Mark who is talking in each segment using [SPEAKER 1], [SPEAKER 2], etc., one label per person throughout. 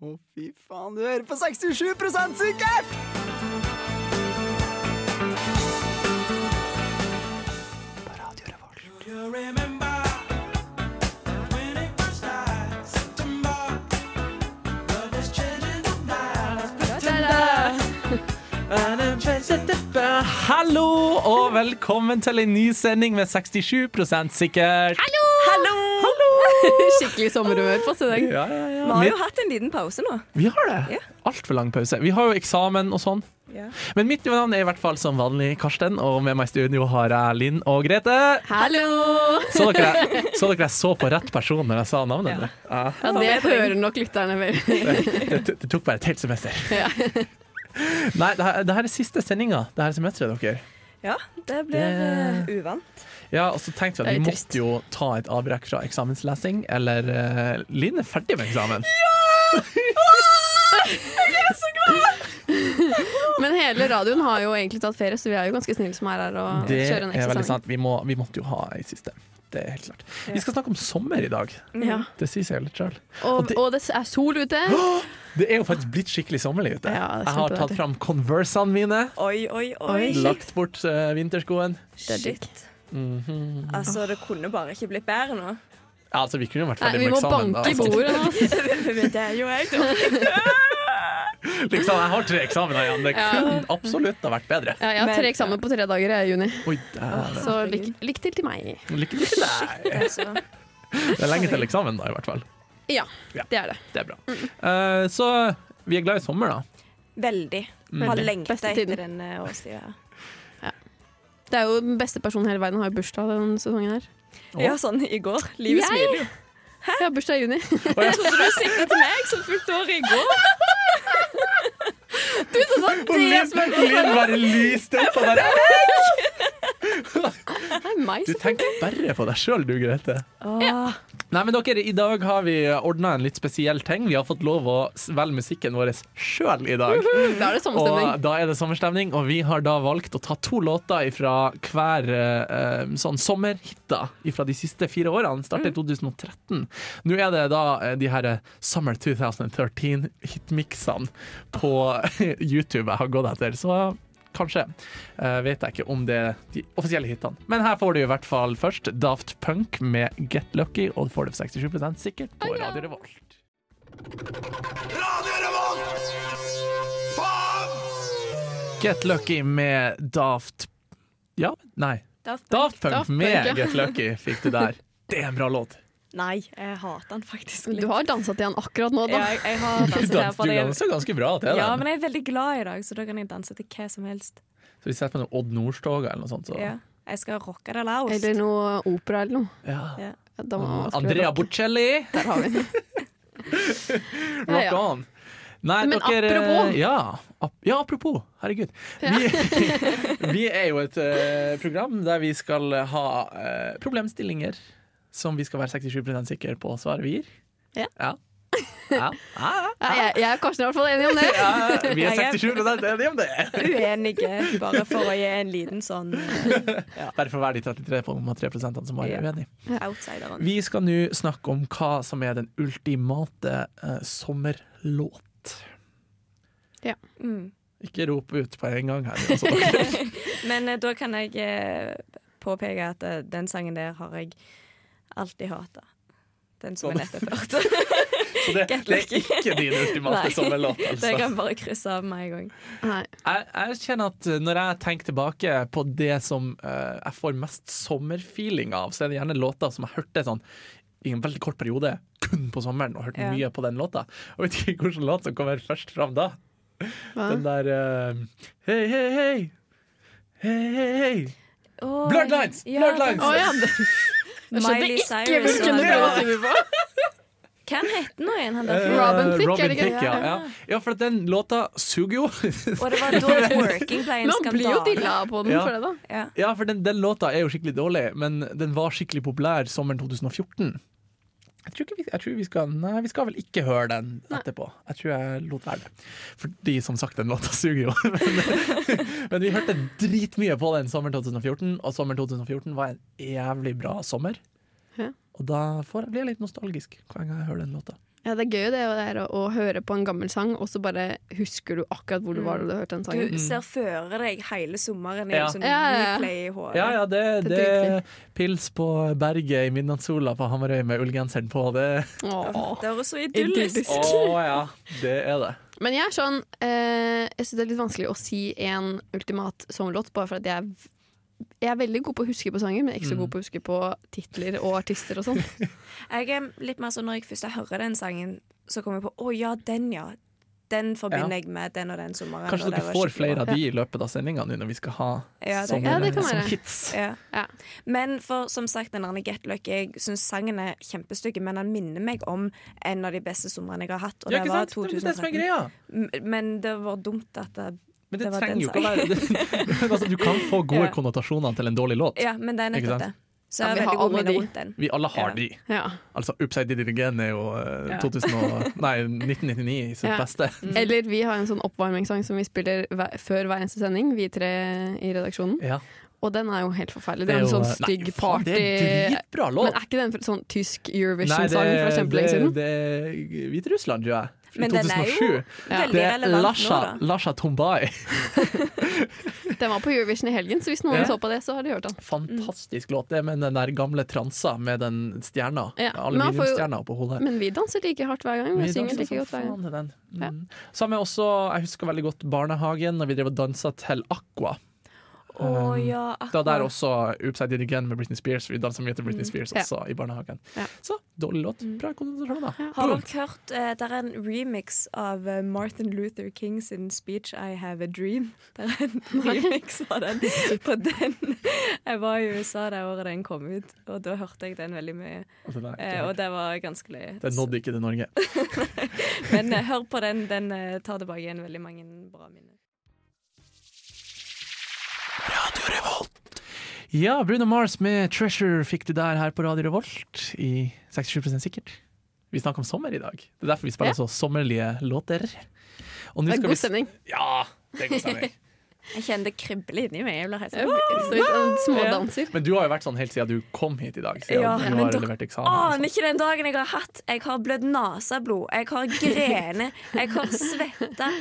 [SPEAKER 1] Å, fy faen, du hører på 67 sikkert! På Radio Revolt.
[SPEAKER 2] Hallo og velkommen til en ny sending med 67 sikkert. Hallo!
[SPEAKER 3] Hallo!
[SPEAKER 4] Skikkelig sommerhumør på seg i dag.
[SPEAKER 2] Ja, ja, ja.
[SPEAKER 3] Vi har
[SPEAKER 2] Mitt-
[SPEAKER 3] jo hatt en liten pause nå.
[SPEAKER 2] Vi har det. Altfor lang pause. Vi har jo eksamen og sånn. Men mitt navn er i hvert fall som vanlig Karsten, og med meg i studio har jeg Linn og Grete.
[SPEAKER 4] Hallo!
[SPEAKER 2] Så dere, så dere jeg så på rett person når jeg sa navnet? dere?
[SPEAKER 4] Ja, det hører nok lytterne vel.
[SPEAKER 2] Det, to- det tok bare et helt semester. Nei, det her, det her er siste sendinga det her semesteret, dere.
[SPEAKER 3] Ja, det blir eh, uvant.
[SPEAKER 2] Ja, og så tenkte vi
[SPEAKER 4] Det
[SPEAKER 2] at
[SPEAKER 4] er
[SPEAKER 2] vi
[SPEAKER 4] litt trist.
[SPEAKER 2] måtte jo ta et avbrekk fra eksamenslesing, eller eh, Linn er ferdig med eksamen.
[SPEAKER 4] Men hele radioen har jo egentlig tatt ferie, så vi er jo ganske snille som er her og
[SPEAKER 2] Det
[SPEAKER 4] kjører en
[SPEAKER 2] er
[SPEAKER 4] ekstra
[SPEAKER 2] veldig
[SPEAKER 4] sang.
[SPEAKER 2] sant. Vi, må, vi måtte jo ha ei siste. Det er helt klart. Vi skal snakke om sommer i dag.
[SPEAKER 4] Ja.
[SPEAKER 2] Det sier seg jo litt sjøl. Og
[SPEAKER 4] Mm. Og,
[SPEAKER 2] det-
[SPEAKER 4] og det er sol ute.
[SPEAKER 2] Det er jo faktisk blitt skikkelig sommerlig ute.
[SPEAKER 4] Ja, det er
[SPEAKER 2] Jeg har tatt
[SPEAKER 4] kjempedeilig.
[SPEAKER 2] fram Conversene mine.
[SPEAKER 3] Oi, oi,
[SPEAKER 4] Oi,
[SPEAKER 3] oi.
[SPEAKER 4] shit.
[SPEAKER 2] Lagt bort eh, vinterskoen.
[SPEAKER 4] Det er
[SPEAKER 3] Shit.
[SPEAKER 4] digg.
[SPEAKER 3] Altså, det kunne bare ikke blitt bedre nå.
[SPEAKER 2] Ja, altså, vi kunne jo vært
[SPEAKER 4] Nei,
[SPEAKER 2] ferdig
[SPEAKER 4] vi
[SPEAKER 2] med
[SPEAKER 4] må
[SPEAKER 2] eksamen.
[SPEAKER 4] banke i
[SPEAKER 2] altså.
[SPEAKER 4] bordet nå. ass.
[SPEAKER 3] Men det er jo jeg, da.
[SPEAKER 2] Liksom, jeg har tre eksamener igjen. Det
[SPEAKER 4] Ja.
[SPEAKER 2] kunne absolutt ha vært bedre.
[SPEAKER 4] Ja, jeg har tre eksamen på tre dager jeg, i juni,
[SPEAKER 2] Oi, dæven.
[SPEAKER 4] så lykke lykke til til meg.
[SPEAKER 2] Lykke til til deg.
[SPEAKER 3] Altså.
[SPEAKER 2] Det er lenge til eksamen, da, i hvert fall.
[SPEAKER 4] Ja,
[SPEAKER 2] Ja.
[SPEAKER 4] det er det.
[SPEAKER 2] Det er bra.
[SPEAKER 4] Mm.
[SPEAKER 2] Eh, så vi er glad i sommer, da.
[SPEAKER 3] Veldig. Har lengta
[SPEAKER 4] Beste tiden.
[SPEAKER 3] etter den eh, årstida.
[SPEAKER 4] Det er jo den beste personen i hele verden har jo bursdag denne sesongen her.
[SPEAKER 3] Ja, sånn i går. Livet
[SPEAKER 4] Jeg?
[SPEAKER 3] smiler jo.
[SPEAKER 4] Jeg har bursdag i juni.
[SPEAKER 3] Jeg trodde du sikta til meg som fulgte året i går.
[SPEAKER 2] Og Linn Linn bare lyste opp og bare
[SPEAKER 4] Det er meg
[SPEAKER 2] Du
[SPEAKER 4] som
[SPEAKER 2] tenker bare på deg sjøl, du, Grete.
[SPEAKER 3] Ja.
[SPEAKER 2] Nei, men dere, i dag har vi ordna en litt spesiell ting. Vi har fått lov å velge musikken vår sjøl i dag.
[SPEAKER 4] Da er det sommerstemning.
[SPEAKER 2] Og da er det sommerstemning, og vi har da valgt å ta to låter fra hver eh, sånn sommerhitta fra de siste fire årene. Startet i 2013. Nå er det da eh, de her Summer 2013-hitmiksene på YouTube jeg har gått etter. Så kanskje. Eh, vet jeg ikke om det er de offisielle hitene. Men her får du i hvert fall først Daft Punk med Get Lucky, og du får det for 67 sikkert på Radio Revolt. Get Lucky med Daft Ja, nei.
[SPEAKER 3] Daft Punk.
[SPEAKER 2] Daft Punk
[SPEAKER 4] Daft Punk,
[SPEAKER 2] med
[SPEAKER 4] ja.
[SPEAKER 2] Get Lucky fikk du der. Det er en bra låt.
[SPEAKER 3] Nei, jeg hater den faktisk
[SPEAKER 4] Du
[SPEAKER 3] litt.
[SPEAKER 4] har dansa til han akkurat nå,
[SPEAKER 3] Ja,
[SPEAKER 4] da.
[SPEAKER 3] jeg, jeg har
[SPEAKER 2] Du
[SPEAKER 3] danset her
[SPEAKER 2] dans-
[SPEAKER 3] for
[SPEAKER 2] du
[SPEAKER 3] deg.
[SPEAKER 2] danser ganske bra til
[SPEAKER 3] Ja,
[SPEAKER 2] den.
[SPEAKER 3] men jeg er veldig glad i dag, så da kan jeg danse til hva som helst.
[SPEAKER 2] Så vi setter på noe Odd Nordstoga eller noe sånt. Så.
[SPEAKER 3] Ja. Jeg skal rocke det laust.
[SPEAKER 4] Eller noe opera eller noe.
[SPEAKER 2] Ja. Ah,
[SPEAKER 3] Ja.
[SPEAKER 4] Ja, da må man skru
[SPEAKER 2] Andrea
[SPEAKER 4] opp.
[SPEAKER 2] Bocelli,
[SPEAKER 4] Der har vi den.
[SPEAKER 2] rock
[SPEAKER 4] Ja, ja.
[SPEAKER 2] on! Nei,
[SPEAKER 4] Men
[SPEAKER 2] dere, eh,
[SPEAKER 4] apropos.
[SPEAKER 2] Ja, ap ja, apropos. Herregud. Vi, vi er jo et eh, program der vi skal ha eh, problemstillinger som vi skal være 67 sikre på svaret vi gir.
[SPEAKER 4] Ja.
[SPEAKER 2] Ja. Ja. Ja.
[SPEAKER 4] Ja, jeg, jeg og Karsten er i hvert fall enige om det.
[SPEAKER 2] Ja, Vi er
[SPEAKER 3] Jeg er-
[SPEAKER 2] 67 enige om det!
[SPEAKER 3] Uenige, bare for å gi en liten sånn eh,
[SPEAKER 2] Bare for å være de 33,3 som var
[SPEAKER 3] Ja.
[SPEAKER 2] uenige.
[SPEAKER 3] outsideren.
[SPEAKER 2] Vi skal nå snakke om hva som er den ultimate eh, sommerlåt.
[SPEAKER 4] Ja.
[SPEAKER 3] Mm.
[SPEAKER 2] Ikke rop ut på en gang her. Altså.
[SPEAKER 3] Men eh, da kan jeg eh, påpeke at eh, den sangen der har jeg alltid hata. Den som jeg
[SPEAKER 2] Sånn.
[SPEAKER 3] nettopp hørte.
[SPEAKER 2] Så det,
[SPEAKER 3] Get
[SPEAKER 2] det er
[SPEAKER 3] lucky.
[SPEAKER 2] ikke din ultimate
[SPEAKER 3] Nei.
[SPEAKER 2] sommerlåt.
[SPEAKER 3] Det
[SPEAKER 2] Altså.
[SPEAKER 3] kan bare krysse av med en gang.
[SPEAKER 4] Nei.
[SPEAKER 2] Jeg, jeg kjenner at eh, når jeg tenker tilbake på det som eh, jeg får mest sommerfeeling av, så er det gjerne låter som jeg hørte sånn i en veldig kort periode, kun på sommeren, og hørte
[SPEAKER 3] Ja.
[SPEAKER 2] mye på den låta. Jeg vet ikke hvilken låt som kommer først fram da.
[SPEAKER 4] Hva?
[SPEAKER 2] Den der eh, Hei, hei, hei! Hei, hei, hei!
[SPEAKER 3] Oh,
[SPEAKER 2] Blurred lines! Blurred lines!
[SPEAKER 4] Å ja, det- jeg skjønte
[SPEAKER 3] Miley
[SPEAKER 4] ikke
[SPEAKER 3] Cyrus
[SPEAKER 4] hvilken
[SPEAKER 3] og
[SPEAKER 4] det var.
[SPEAKER 3] den- Hvem heter nå igjen han der?
[SPEAKER 2] Eh,
[SPEAKER 3] fyren?
[SPEAKER 4] Robin Thicke, er det ikke?
[SPEAKER 2] ja. Ja. ja, for at den låta suger jo.
[SPEAKER 3] Og det var da twerking ble en
[SPEAKER 4] Men han blir jo
[SPEAKER 3] skandale.
[SPEAKER 4] dilla på den
[SPEAKER 2] Ja.
[SPEAKER 4] for det, da.
[SPEAKER 3] Ja.
[SPEAKER 2] Ja, for den, den låta er jo skikkelig dårlig, men den var skikkelig populær sommeren 2014. Jeg tror, ikke vi, jeg tror vi skal Nei, vi skal vel ikke høre den etterpå. Jeg tror jeg lot være det. Fordi, som sagt, den låta suger jo. men, men vi hørte dritmye på den sommeren 2014, og sommeren 2014 var en jævlig bra sommer.
[SPEAKER 4] Ja.
[SPEAKER 2] Og da får jeg, blir jeg litt nostalgisk hver gang jeg hører den låta.
[SPEAKER 4] Ja, det er gøy det, det er å, å høre på en gammel sang, og så bare husker du akkurat hvor du var da Mm. du hørte den
[SPEAKER 3] Du
[SPEAKER 4] sangen.
[SPEAKER 3] ser føre deg hele sommeren i
[SPEAKER 2] Ja.
[SPEAKER 3] en sånn
[SPEAKER 4] Ja, ja, ja.
[SPEAKER 3] replay i hodet.
[SPEAKER 2] Ja, ja, det,
[SPEAKER 4] Det
[SPEAKER 2] det,
[SPEAKER 4] er dritlig.
[SPEAKER 2] pils på berget i midnattssola på Hamarøy med ullgenseren på. Det,
[SPEAKER 4] Åh.
[SPEAKER 3] Det høres så idyllisk
[SPEAKER 4] Idyllisk.
[SPEAKER 2] å, ja, det er det.
[SPEAKER 4] Men jeg er sånn eh, Jeg syns det er litt vanskelig å si en ultimat sommerlåt, bare for at jeg er v- jeg er veldig god på å huske på sanger, men ikke så
[SPEAKER 2] Mm.
[SPEAKER 4] god på å huske på titler og artister og sånn.
[SPEAKER 3] Jeg er litt mer sånn når jeg først hører den sangen, så kommer jeg på å ja, den ja. Den forbinder jeg med den og den sommeren.
[SPEAKER 2] Kanskje
[SPEAKER 3] og det
[SPEAKER 2] dere
[SPEAKER 3] var
[SPEAKER 2] får
[SPEAKER 3] skikkelig
[SPEAKER 2] flere
[SPEAKER 3] bra.
[SPEAKER 2] av de i løpet av sendinga nå når vi skal ha
[SPEAKER 3] Ja, det-
[SPEAKER 2] sommer
[SPEAKER 4] Ja, det kan
[SPEAKER 2] som
[SPEAKER 4] være.
[SPEAKER 2] hits.
[SPEAKER 3] Ja.
[SPEAKER 4] Ja.
[SPEAKER 3] Men for som sagt, den der Get Lucky, jeg syns sangen er kjempestygg, men den minner meg om en av de beste somrene jeg har hatt, og
[SPEAKER 2] Ja,
[SPEAKER 3] det
[SPEAKER 2] ikke
[SPEAKER 3] var
[SPEAKER 2] sant? Det er det som er
[SPEAKER 3] 2013.
[SPEAKER 2] greia.
[SPEAKER 3] M- Men det var dumt at eh, det
[SPEAKER 2] Men det,
[SPEAKER 3] Det var
[SPEAKER 2] trenger
[SPEAKER 3] den
[SPEAKER 2] jo ikke å være altså, Du kan få gode
[SPEAKER 3] Ja.
[SPEAKER 2] konnotasjoner til en dårlig låt.
[SPEAKER 3] Ja, men det er
[SPEAKER 2] Ikke
[SPEAKER 3] nettopp
[SPEAKER 2] sant?
[SPEAKER 3] det. Så
[SPEAKER 4] Ja, vi
[SPEAKER 3] jeg
[SPEAKER 4] har
[SPEAKER 3] har veldig gode
[SPEAKER 4] alle
[SPEAKER 3] minner
[SPEAKER 4] de.
[SPEAKER 3] rundt den.
[SPEAKER 2] Vi alle har
[SPEAKER 3] Ja.
[SPEAKER 2] de.
[SPEAKER 4] Ja.
[SPEAKER 2] Altså Upside Did It Again er jo eh,
[SPEAKER 3] Ja. Mm.
[SPEAKER 2] 2000 og, nei, 1999 i sitt
[SPEAKER 4] Ja.
[SPEAKER 2] beste.
[SPEAKER 4] Eller vi har en sånn oppvarmingssang som vi spiller hver, før hver eneste sending, vi tre i redaksjonen.
[SPEAKER 2] Ja.
[SPEAKER 4] Og den er jo helt forferdelig. Det er en sånn
[SPEAKER 2] eh,
[SPEAKER 4] stygg
[SPEAKER 2] nei, faen,
[SPEAKER 4] party
[SPEAKER 2] Det er dritbra
[SPEAKER 4] Men
[SPEAKER 2] låt!
[SPEAKER 4] er ikke den fra- sånn tysk
[SPEAKER 2] Nei,
[SPEAKER 4] Eurovision-sang
[SPEAKER 2] det,
[SPEAKER 4] fra
[SPEAKER 2] det,
[SPEAKER 4] kjempelenge siden?
[SPEAKER 2] det er Hviterussland, tror jeg. Fra
[SPEAKER 3] Men den er
[SPEAKER 2] 2007.
[SPEAKER 3] jo
[SPEAKER 4] Ja.
[SPEAKER 3] veldig
[SPEAKER 2] det er
[SPEAKER 3] relevant
[SPEAKER 2] Lasha,
[SPEAKER 3] nå, da.
[SPEAKER 2] Lasha Tombai.
[SPEAKER 4] Den var på Eurovision i helgen, så hvis noen
[SPEAKER 2] Ja.
[SPEAKER 4] så på det, så har de hørt den.
[SPEAKER 2] Fantastisk låt. Det med den der gamle transa med den stjerna.
[SPEAKER 4] Ja, men han får jo-
[SPEAKER 2] Aluminiumsstjerna oppå hodet.
[SPEAKER 4] Men vi danser like hardt hver gang. Vi
[SPEAKER 2] Vi
[SPEAKER 4] synger
[SPEAKER 2] danset
[SPEAKER 4] like
[SPEAKER 2] som
[SPEAKER 4] godt hver gang.
[SPEAKER 2] faen til den. Mm.
[SPEAKER 4] Ja.
[SPEAKER 2] Samme også, jeg husker veldig godt barnehagen, når vi drev og dansa til Aqua.
[SPEAKER 3] Å ja,
[SPEAKER 2] Det var der
[SPEAKER 3] akkurat.
[SPEAKER 2] også Upside Did Again med Britney Spears. Vi dansa mye til Britney Spears
[SPEAKER 4] Mm. Ja.
[SPEAKER 2] også i barnehagen.
[SPEAKER 4] Ja. Mm.
[SPEAKER 2] Så dårlig låt. Bra konsentrasjoner.
[SPEAKER 3] Har dere hørt eh, Det er en remix av eh, Martin Luther King sin speech 'I Have a Dream'. Det er en remix av den på den. Jeg var i USA det året den kom ut, og da hørte jeg den veldig mye. Eh,
[SPEAKER 2] Det
[SPEAKER 3] og det var ganske løye.
[SPEAKER 2] nådde ikke til Norge.
[SPEAKER 3] Men eh, hør på den. Den eh, tar tilbake igjen veldig mange bra minner.
[SPEAKER 2] Ja, Bruno Mars med 'Treasure' fikk du der her på Radio Revolt i 67 sikkert. Vi snakker om sommer i dag. Det er derfor vi spiller
[SPEAKER 4] Ja.
[SPEAKER 2] så sommerlige låter. Og nå
[SPEAKER 4] Det er
[SPEAKER 2] skal
[SPEAKER 4] god
[SPEAKER 2] vi-
[SPEAKER 4] stemning.
[SPEAKER 2] Ja, det er god stemning.
[SPEAKER 3] Jeg kjenner det kribler inni meg. Jeg blir helt
[SPEAKER 4] Jeg
[SPEAKER 3] sånn
[SPEAKER 4] blir- så litt sånn Smådanser.
[SPEAKER 2] Men du har jo vært sånn helt siden du kom hit i dag. Siden
[SPEAKER 3] Ja,
[SPEAKER 2] du
[SPEAKER 3] men
[SPEAKER 2] har
[SPEAKER 3] dere
[SPEAKER 2] levert eksamen. og sånt.
[SPEAKER 3] Aner ikke den dagen jeg har hatt. Jeg har blødd nasablod, jeg har grene, jeg har svetta.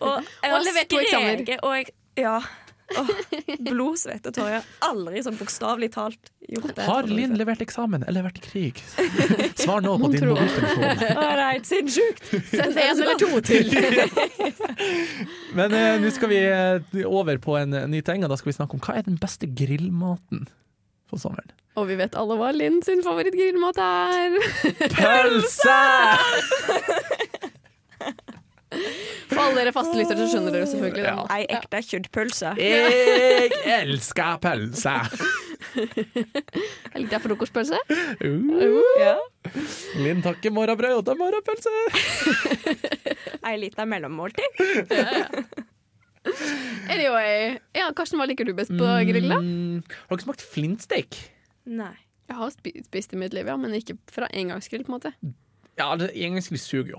[SPEAKER 3] Og
[SPEAKER 4] Og
[SPEAKER 3] jeg har
[SPEAKER 4] levert to eksamener.
[SPEAKER 3] skreket, og jeg Ja. Åh, blod, svette og tårer. Jeg har aldri sånn bokstavelig talt gjort det.
[SPEAKER 2] Har Linn levert eksamen eller vært i krig? Svar nå på
[SPEAKER 4] Mon
[SPEAKER 2] din
[SPEAKER 4] tro.
[SPEAKER 2] mobiltelefon.
[SPEAKER 3] Å nei, sinnssykt!
[SPEAKER 4] Send en eller to til.
[SPEAKER 2] Men eh, nå skal vi eh, over på en eh, ny ting, og da skal vi snakke om hva er den beste grillmaten på sommeren.
[SPEAKER 4] Og vi vet alle hva Linn sin favorittgrillmat er.
[SPEAKER 2] Pølse!
[SPEAKER 4] For alle dere faste lyttere, så skjønner dere selvfølgelig det. nå.
[SPEAKER 3] Ei ekte kjøttpølse.
[SPEAKER 2] Jeg elsker pølse!
[SPEAKER 4] Jeg liker frokostpølse.
[SPEAKER 2] Uh,
[SPEAKER 3] Ja.
[SPEAKER 2] Linn takker morrabrød og tar morrapølse.
[SPEAKER 3] Ei lita mellommåltid.
[SPEAKER 4] Anyway. Ja, Karsten, hva liker du best på grill, da?
[SPEAKER 2] Mm, har dere smakt flintsteik?
[SPEAKER 3] Nei.
[SPEAKER 4] Jeg har spi- spist i mitt liv, ja, men ikke fra engangsgrill, på en måte.
[SPEAKER 2] Ja, altså, engangsgrill suger jo,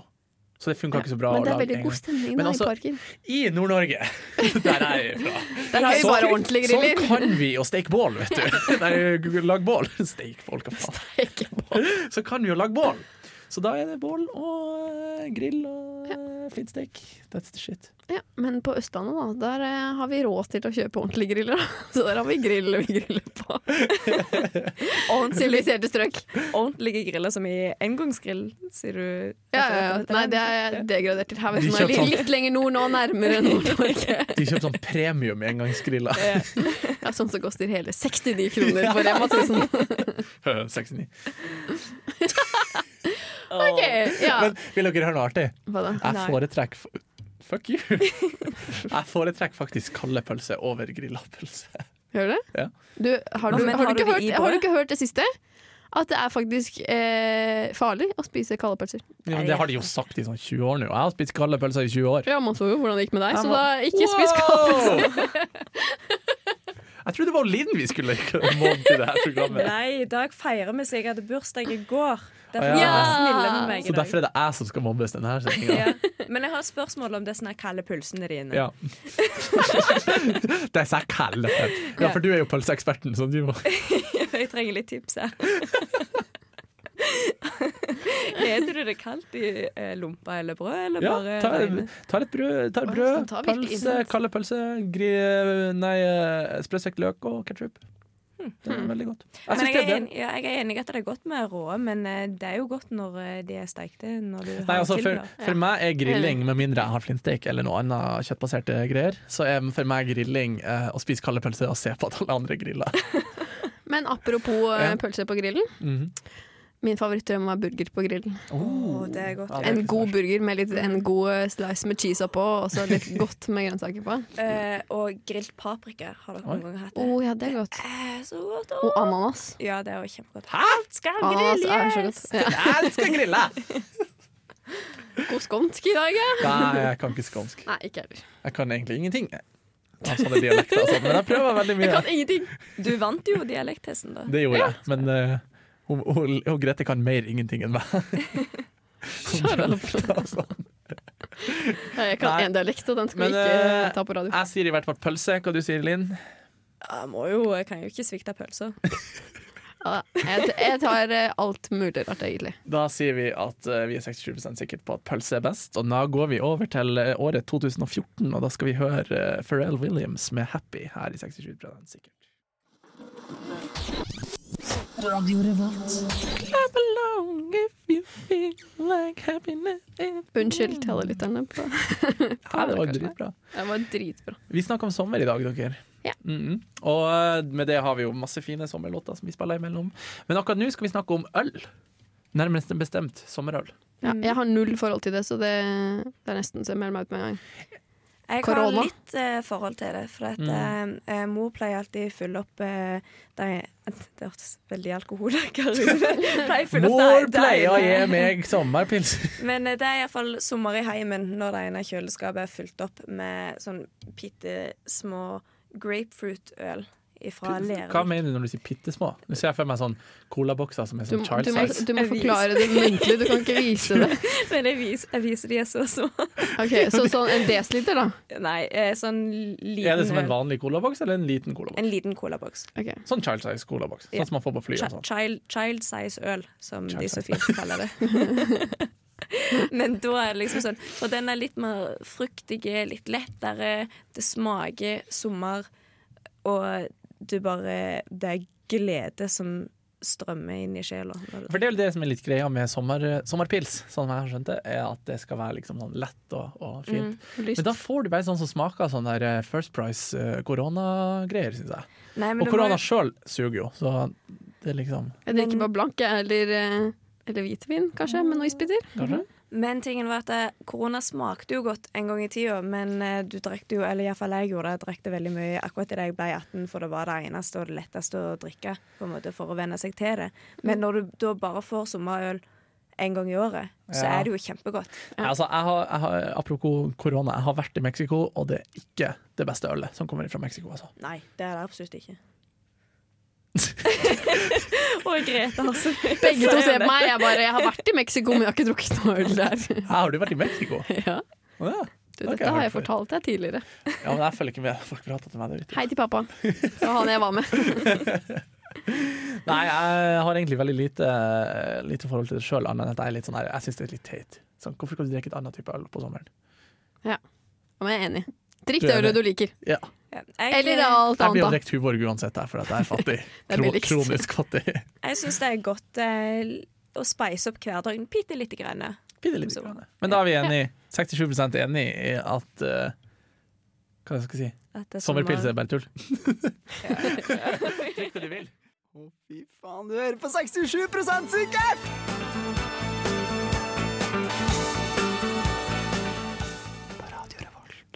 [SPEAKER 2] så det funker ikke så bra.
[SPEAKER 4] Men
[SPEAKER 2] å
[SPEAKER 4] det er
[SPEAKER 2] lage
[SPEAKER 4] veldig god
[SPEAKER 2] engangsgrill.
[SPEAKER 4] stemning
[SPEAKER 2] Men
[SPEAKER 4] da,
[SPEAKER 2] altså-
[SPEAKER 4] i parken.
[SPEAKER 2] I Nord-Norge, der er jeg fra.
[SPEAKER 4] Der har vi
[SPEAKER 2] Sånn-
[SPEAKER 4] bare ordentlige griller.
[SPEAKER 2] Sånn kan vi å steke bål, vet du. Nei, lag bål. Steik folk, hva faen.
[SPEAKER 4] Ikke på.
[SPEAKER 2] Så kan vi jo lage bål. Så da er det bål og eh, grill og eh, flintstek. That's the shit.
[SPEAKER 4] Ja, men på Østlandet, da, der eh, har vi råd til å kjøpe ordentlige griller. da. Så der har vi grill vi griller på.
[SPEAKER 3] Ordentlig-
[SPEAKER 4] Siviliserte strøk.
[SPEAKER 3] Ordentlige griller som i engangsgrill, sier du?
[SPEAKER 4] Ja, ja, ja. Nei, det er jeg degradert til. Her vet du,
[SPEAKER 2] De
[SPEAKER 4] nå er
[SPEAKER 2] kjøpte
[SPEAKER 4] jeg
[SPEAKER 2] sånn-
[SPEAKER 4] li- litt lenger nord nå, nærmere Nord-Norge.
[SPEAKER 2] De kjøper sånn premium engangsgriller.
[SPEAKER 4] Ja, sånn som koster hele 69 kroner på Rema 1000.
[SPEAKER 2] 69.
[SPEAKER 4] Ok, ja.
[SPEAKER 2] Men vil dere høre noe artig?
[SPEAKER 4] Hva da?
[SPEAKER 2] Jeg
[SPEAKER 3] Nei.
[SPEAKER 2] foretrekker f- Fuck you! Jeg foretrekker faktisk kalde pølser over grilla pølse.
[SPEAKER 4] Hører du?
[SPEAKER 2] Ja.
[SPEAKER 4] du har, du,
[SPEAKER 3] Men
[SPEAKER 4] har,
[SPEAKER 3] har
[SPEAKER 4] du
[SPEAKER 3] du
[SPEAKER 4] ikke
[SPEAKER 3] det i
[SPEAKER 4] hørt, har
[SPEAKER 3] brødet?
[SPEAKER 4] du ikke hørt det siste? At det er faktisk eh, farlig å spise kalde pølser.
[SPEAKER 2] Ja, men det har de jo sagt i sånn 20 år nå. Jeg har spist kalde pølser i 20 år.
[SPEAKER 4] Ja, man så jo hvordan det gikk med deg,
[SPEAKER 2] Ja,
[SPEAKER 4] så da
[SPEAKER 2] man-
[SPEAKER 4] ikke spis kalde pølser.
[SPEAKER 2] Jeg trodde det var Linn vi skulle monte i det her programmet.
[SPEAKER 3] Nei, i dag feirer vi så jeg hadde bursdag i går. Derfor
[SPEAKER 2] Ja.
[SPEAKER 3] ja. er snille med meg
[SPEAKER 2] Så
[SPEAKER 3] i dag.
[SPEAKER 2] derfor er det jeg som skal mobbes denne her sendinga.
[SPEAKER 3] Ja. Men jeg har et spørsmål om disse her kalde pulsene dine.
[SPEAKER 2] Ja. Det er så kaldt. Ja, for du er jo pølseeksperten, så du må
[SPEAKER 3] Jeg trenger litt tips her. Kler du det kaldt i eh, lompa eller brød, eller
[SPEAKER 2] Ja,
[SPEAKER 3] bare
[SPEAKER 2] ta,
[SPEAKER 3] regne?
[SPEAKER 2] ta litt brød, ta
[SPEAKER 4] Å,
[SPEAKER 2] et brød
[SPEAKER 4] den tar virkelig
[SPEAKER 2] pølse,
[SPEAKER 4] innsats.
[SPEAKER 2] kalde pølse, gri, nei, eh, sprøstekt løk og ketsjup. Det er veldig godt. Jeg
[SPEAKER 3] Hmm. Men
[SPEAKER 2] synes det
[SPEAKER 3] jeg er,
[SPEAKER 2] er det.
[SPEAKER 3] enig, ja, jeg er enig i at det er godt med rå, men eh, det er jo godt når eh, de er stekte. Når du
[SPEAKER 2] Nei,
[SPEAKER 3] har
[SPEAKER 2] altså for,
[SPEAKER 3] tilbehør.
[SPEAKER 4] Ja.
[SPEAKER 2] for meg er grilling, med mindre jeg har flintsteak eller noe annet kjøttbaserte greier, så er for meg grilling eh, å spise kalde pølser og se på at alle andre griller.
[SPEAKER 4] Men apropos eh,
[SPEAKER 2] Ja.
[SPEAKER 4] pølse på grillen.
[SPEAKER 2] Mhm.
[SPEAKER 4] Min favorittdrøm var burger på grillen.
[SPEAKER 3] Åh, det er godt.
[SPEAKER 2] Ja, det er
[SPEAKER 4] En
[SPEAKER 2] ikke så
[SPEAKER 4] god
[SPEAKER 2] verst.
[SPEAKER 4] burger med litt, en god eh, slice med cheese oppå, og så litt godt med grønnsaker på.
[SPEAKER 3] Eh, og grilt paprika har dere
[SPEAKER 2] Oi.
[SPEAKER 3] noen gang hatt.
[SPEAKER 4] Å
[SPEAKER 3] det?
[SPEAKER 4] ja, det er godt.
[SPEAKER 3] Eh, så godt.
[SPEAKER 4] Og
[SPEAKER 3] åh.
[SPEAKER 4] ananas.
[SPEAKER 3] Ja, det er jo kjempegodt. Skal
[SPEAKER 4] Ananas er så
[SPEAKER 3] grilles!
[SPEAKER 4] godt. Ja.
[SPEAKER 2] Jeg skal grille!
[SPEAKER 4] God skånsk i dag, ja.
[SPEAKER 2] Nei, jeg kan ikke skånsk.
[SPEAKER 4] Nei, ikke heller.
[SPEAKER 2] Jeg kan egentlig ingenting. Altså, det er dialekt, altså. Men jeg prøver veldig
[SPEAKER 4] Jeg
[SPEAKER 2] mye.
[SPEAKER 4] kan ingenting.
[SPEAKER 3] Du vant jo dialekttesten, da.
[SPEAKER 2] Det gjorde jeg. Men eh, hun, hun, hun Grete kan mer ingenting enn meg.
[SPEAKER 4] Shut up.
[SPEAKER 2] Altså.
[SPEAKER 4] Nei, Jeg kan
[SPEAKER 2] Nei.
[SPEAKER 4] én dialekt, og den skal
[SPEAKER 2] Men,
[SPEAKER 4] vi ikke
[SPEAKER 2] eh,
[SPEAKER 4] eh, ta på radio.
[SPEAKER 2] Jeg sier i hvert fall pølse. Hva du sier Linn?
[SPEAKER 3] Jeg, må jo, jeg kan jo ikke svikte pølser.
[SPEAKER 4] Ja, jeg, jeg tar eh, alt mulig rart, egentlig.
[SPEAKER 2] Da sier vi at eh, vi er 67 sikre på at pølse er best. Og da går vi over til eh, året 2014, og da skal vi høre eh, Pharrell Williams med 'Happy' her i 67 sikkert. Clap along if you feel like happiness.
[SPEAKER 4] Unnskyld til alle lytterne. På.
[SPEAKER 2] Ja, det var dritbra.
[SPEAKER 4] Mm. Det var dritbra.
[SPEAKER 2] Vi snakker om sommer i dag, dere.
[SPEAKER 4] Ja.
[SPEAKER 2] Mhm. Og eh, med det har vi jo masse fine sommerlåter som vi spiller imellom. Men akkurat nå skal vi snakke om øl. Nærmest bestemt sommerøl.
[SPEAKER 4] Ja, jeg har null forhold til det, så det, det er nesten så jeg melder meg ut med en gang.
[SPEAKER 3] Jeg
[SPEAKER 4] Korona?
[SPEAKER 3] har litt eh, forhold til det, for
[SPEAKER 2] Mm.
[SPEAKER 3] at, eh, eh, mor pleier alltid fylle opp eh, de, Det hørtes veldig alkoholiker ut. Pleier fylle opp de-
[SPEAKER 2] Mor
[SPEAKER 3] de-
[SPEAKER 2] pleier å gi meg sommerpils!
[SPEAKER 3] Men eh, det er iallfall sommer i heimen når det ene kjøleskapet er fylt opp med sånn bitte små grapefruitøl fra
[SPEAKER 2] Hva
[SPEAKER 3] Lervik.
[SPEAKER 2] mener du når du sier bitte små? Nå ser jeg for meg sånn colabokser som er
[SPEAKER 4] Du,
[SPEAKER 2] sånn child
[SPEAKER 4] du, må,
[SPEAKER 2] size.
[SPEAKER 4] du må
[SPEAKER 3] Jeg viser.
[SPEAKER 4] forklare det muntlig, du kan ikke vise det.
[SPEAKER 3] Men jeg viser, jeg viser de er så små.
[SPEAKER 4] Ok, Så sånn en desiliter, da?
[SPEAKER 3] Nei, eh, sånn liten
[SPEAKER 2] Er det som en
[SPEAKER 3] øl.
[SPEAKER 2] vanlig colaboks eller en liten colaboks?
[SPEAKER 3] En liten colaboks.
[SPEAKER 4] Ok.
[SPEAKER 2] Sånn child size colaboks. Sånn
[SPEAKER 3] Ja.
[SPEAKER 2] som man får på fly og
[SPEAKER 3] Chi-
[SPEAKER 2] sånn.
[SPEAKER 3] Child, child size øl, som
[SPEAKER 2] Child
[SPEAKER 3] de så
[SPEAKER 2] size.
[SPEAKER 3] fint kaller det. Men da er det liksom sånn Og den er litt mer fruktig, litt lettere. Det smaker sommer, og du bare Det er glede som strømmer inn i sjela.
[SPEAKER 2] For det er jo det som er litt greia med sommer, sommerpils, sånn jeg har skjønt det, er at det skal være liksom sånn lett og, og fint. Men da får du bare sånn som smaker sånn der eh, First Price eh, koronagreier, syns jeg.
[SPEAKER 3] Nei, men
[SPEAKER 2] Og
[SPEAKER 3] du
[SPEAKER 2] korona
[SPEAKER 3] må,
[SPEAKER 2] sjøl suger jo, så det er liksom
[SPEAKER 4] Jeg drikker bare blank, jeg, eller, eh, eller hvitvin, kanskje, med noe isbiter.
[SPEAKER 2] Kanskje?
[SPEAKER 3] men tingen var at eh, korona smakte jo godt en gang i tida, men eh, du drakk jo, eller iallfall jeg gjorde det, jeg drakk det veldig mye akkurat da jeg ble 18, for det var det eneste og det letteste å drikke på en måte for å venne seg til det. Men når du da bare får sommerøl en gang i året, så
[SPEAKER 2] Ja.
[SPEAKER 3] er det jo kjempegodt.
[SPEAKER 2] Altså, jeg har, jeg har, apropos korona, jeg har vært i Mexico, og det er ikke det beste ølet som kommer fra Mexico. Altså.
[SPEAKER 3] Nei, det er det absolutt ikke. og Grete har så
[SPEAKER 4] Begge to ser på meg. Jeg bare, jeg har vært i Mexico, men jeg har ikke drukket noe øl der.
[SPEAKER 2] Hæ, har du vært i Mexico?
[SPEAKER 4] Ja.
[SPEAKER 2] Å, Ja.
[SPEAKER 4] Mhm. Du,
[SPEAKER 2] Ok,
[SPEAKER 4] dette har jeg
[SPEAKER 2] hørt
[SPEAKER 4] fortalt deg tidligere.
[SPEAKER 2] før. Ja, men jeg følger ikke med. Folk prater til meg der ute.
[SPEAKER 4] Hei til pappa. Det var han jeg var med.
[SPEAKER 2] Nei, jeg har egentlig veldig lite, lite forhold til det sjøl, annet enn at jeg er litt sånn her, jeg syns det er litt teit. Sånn, hvorfor skal du drikke et annet type øl på sommeren?
[SPEAKER 4] Ja, Men jeg er enig. Drikk
[SPEAKER 2] Du
[SPEAKER 4] det
[SPEAKER 2] er
[SPEAKER 4] ølet du liker.
[SPEAKER 2] Ja.
[SPEAKER 3] Jeg,
[SPEAKER 4] Eller alt
[SPEAKER 2] Jeg blir å
[SPEAKER 4] annet, da.
[SPEAKER 2] drikke Tuborg uansett, jeg, for at jeg er fattig.
[SPEAKER 4] Det er
[SPEAKER 2] Kro
[SPEAKER 4] billigst.
[SPEAKER 2] kronisk fattig.
[SPEAKER 3] eh, jeg syns det er godt eh, å speise opp hverdagen bitte lite grann.
[SPEAKER 2] Bitte litt.
[SPEAKER 3] Så-
[SPEAKER 2] grann. Men da er vi enige. 67 enig i at eh, Hva skal jeg si?
[SPEAKER 3] At det er
[SPEAKER 2] Sommerpils
[SPEAKER 3] sommer.
[SPEAKER 2] er bare tull. Drikk det du vil.
[SPEAKER 1] Å, fy faen, du hører på 67 sikkert!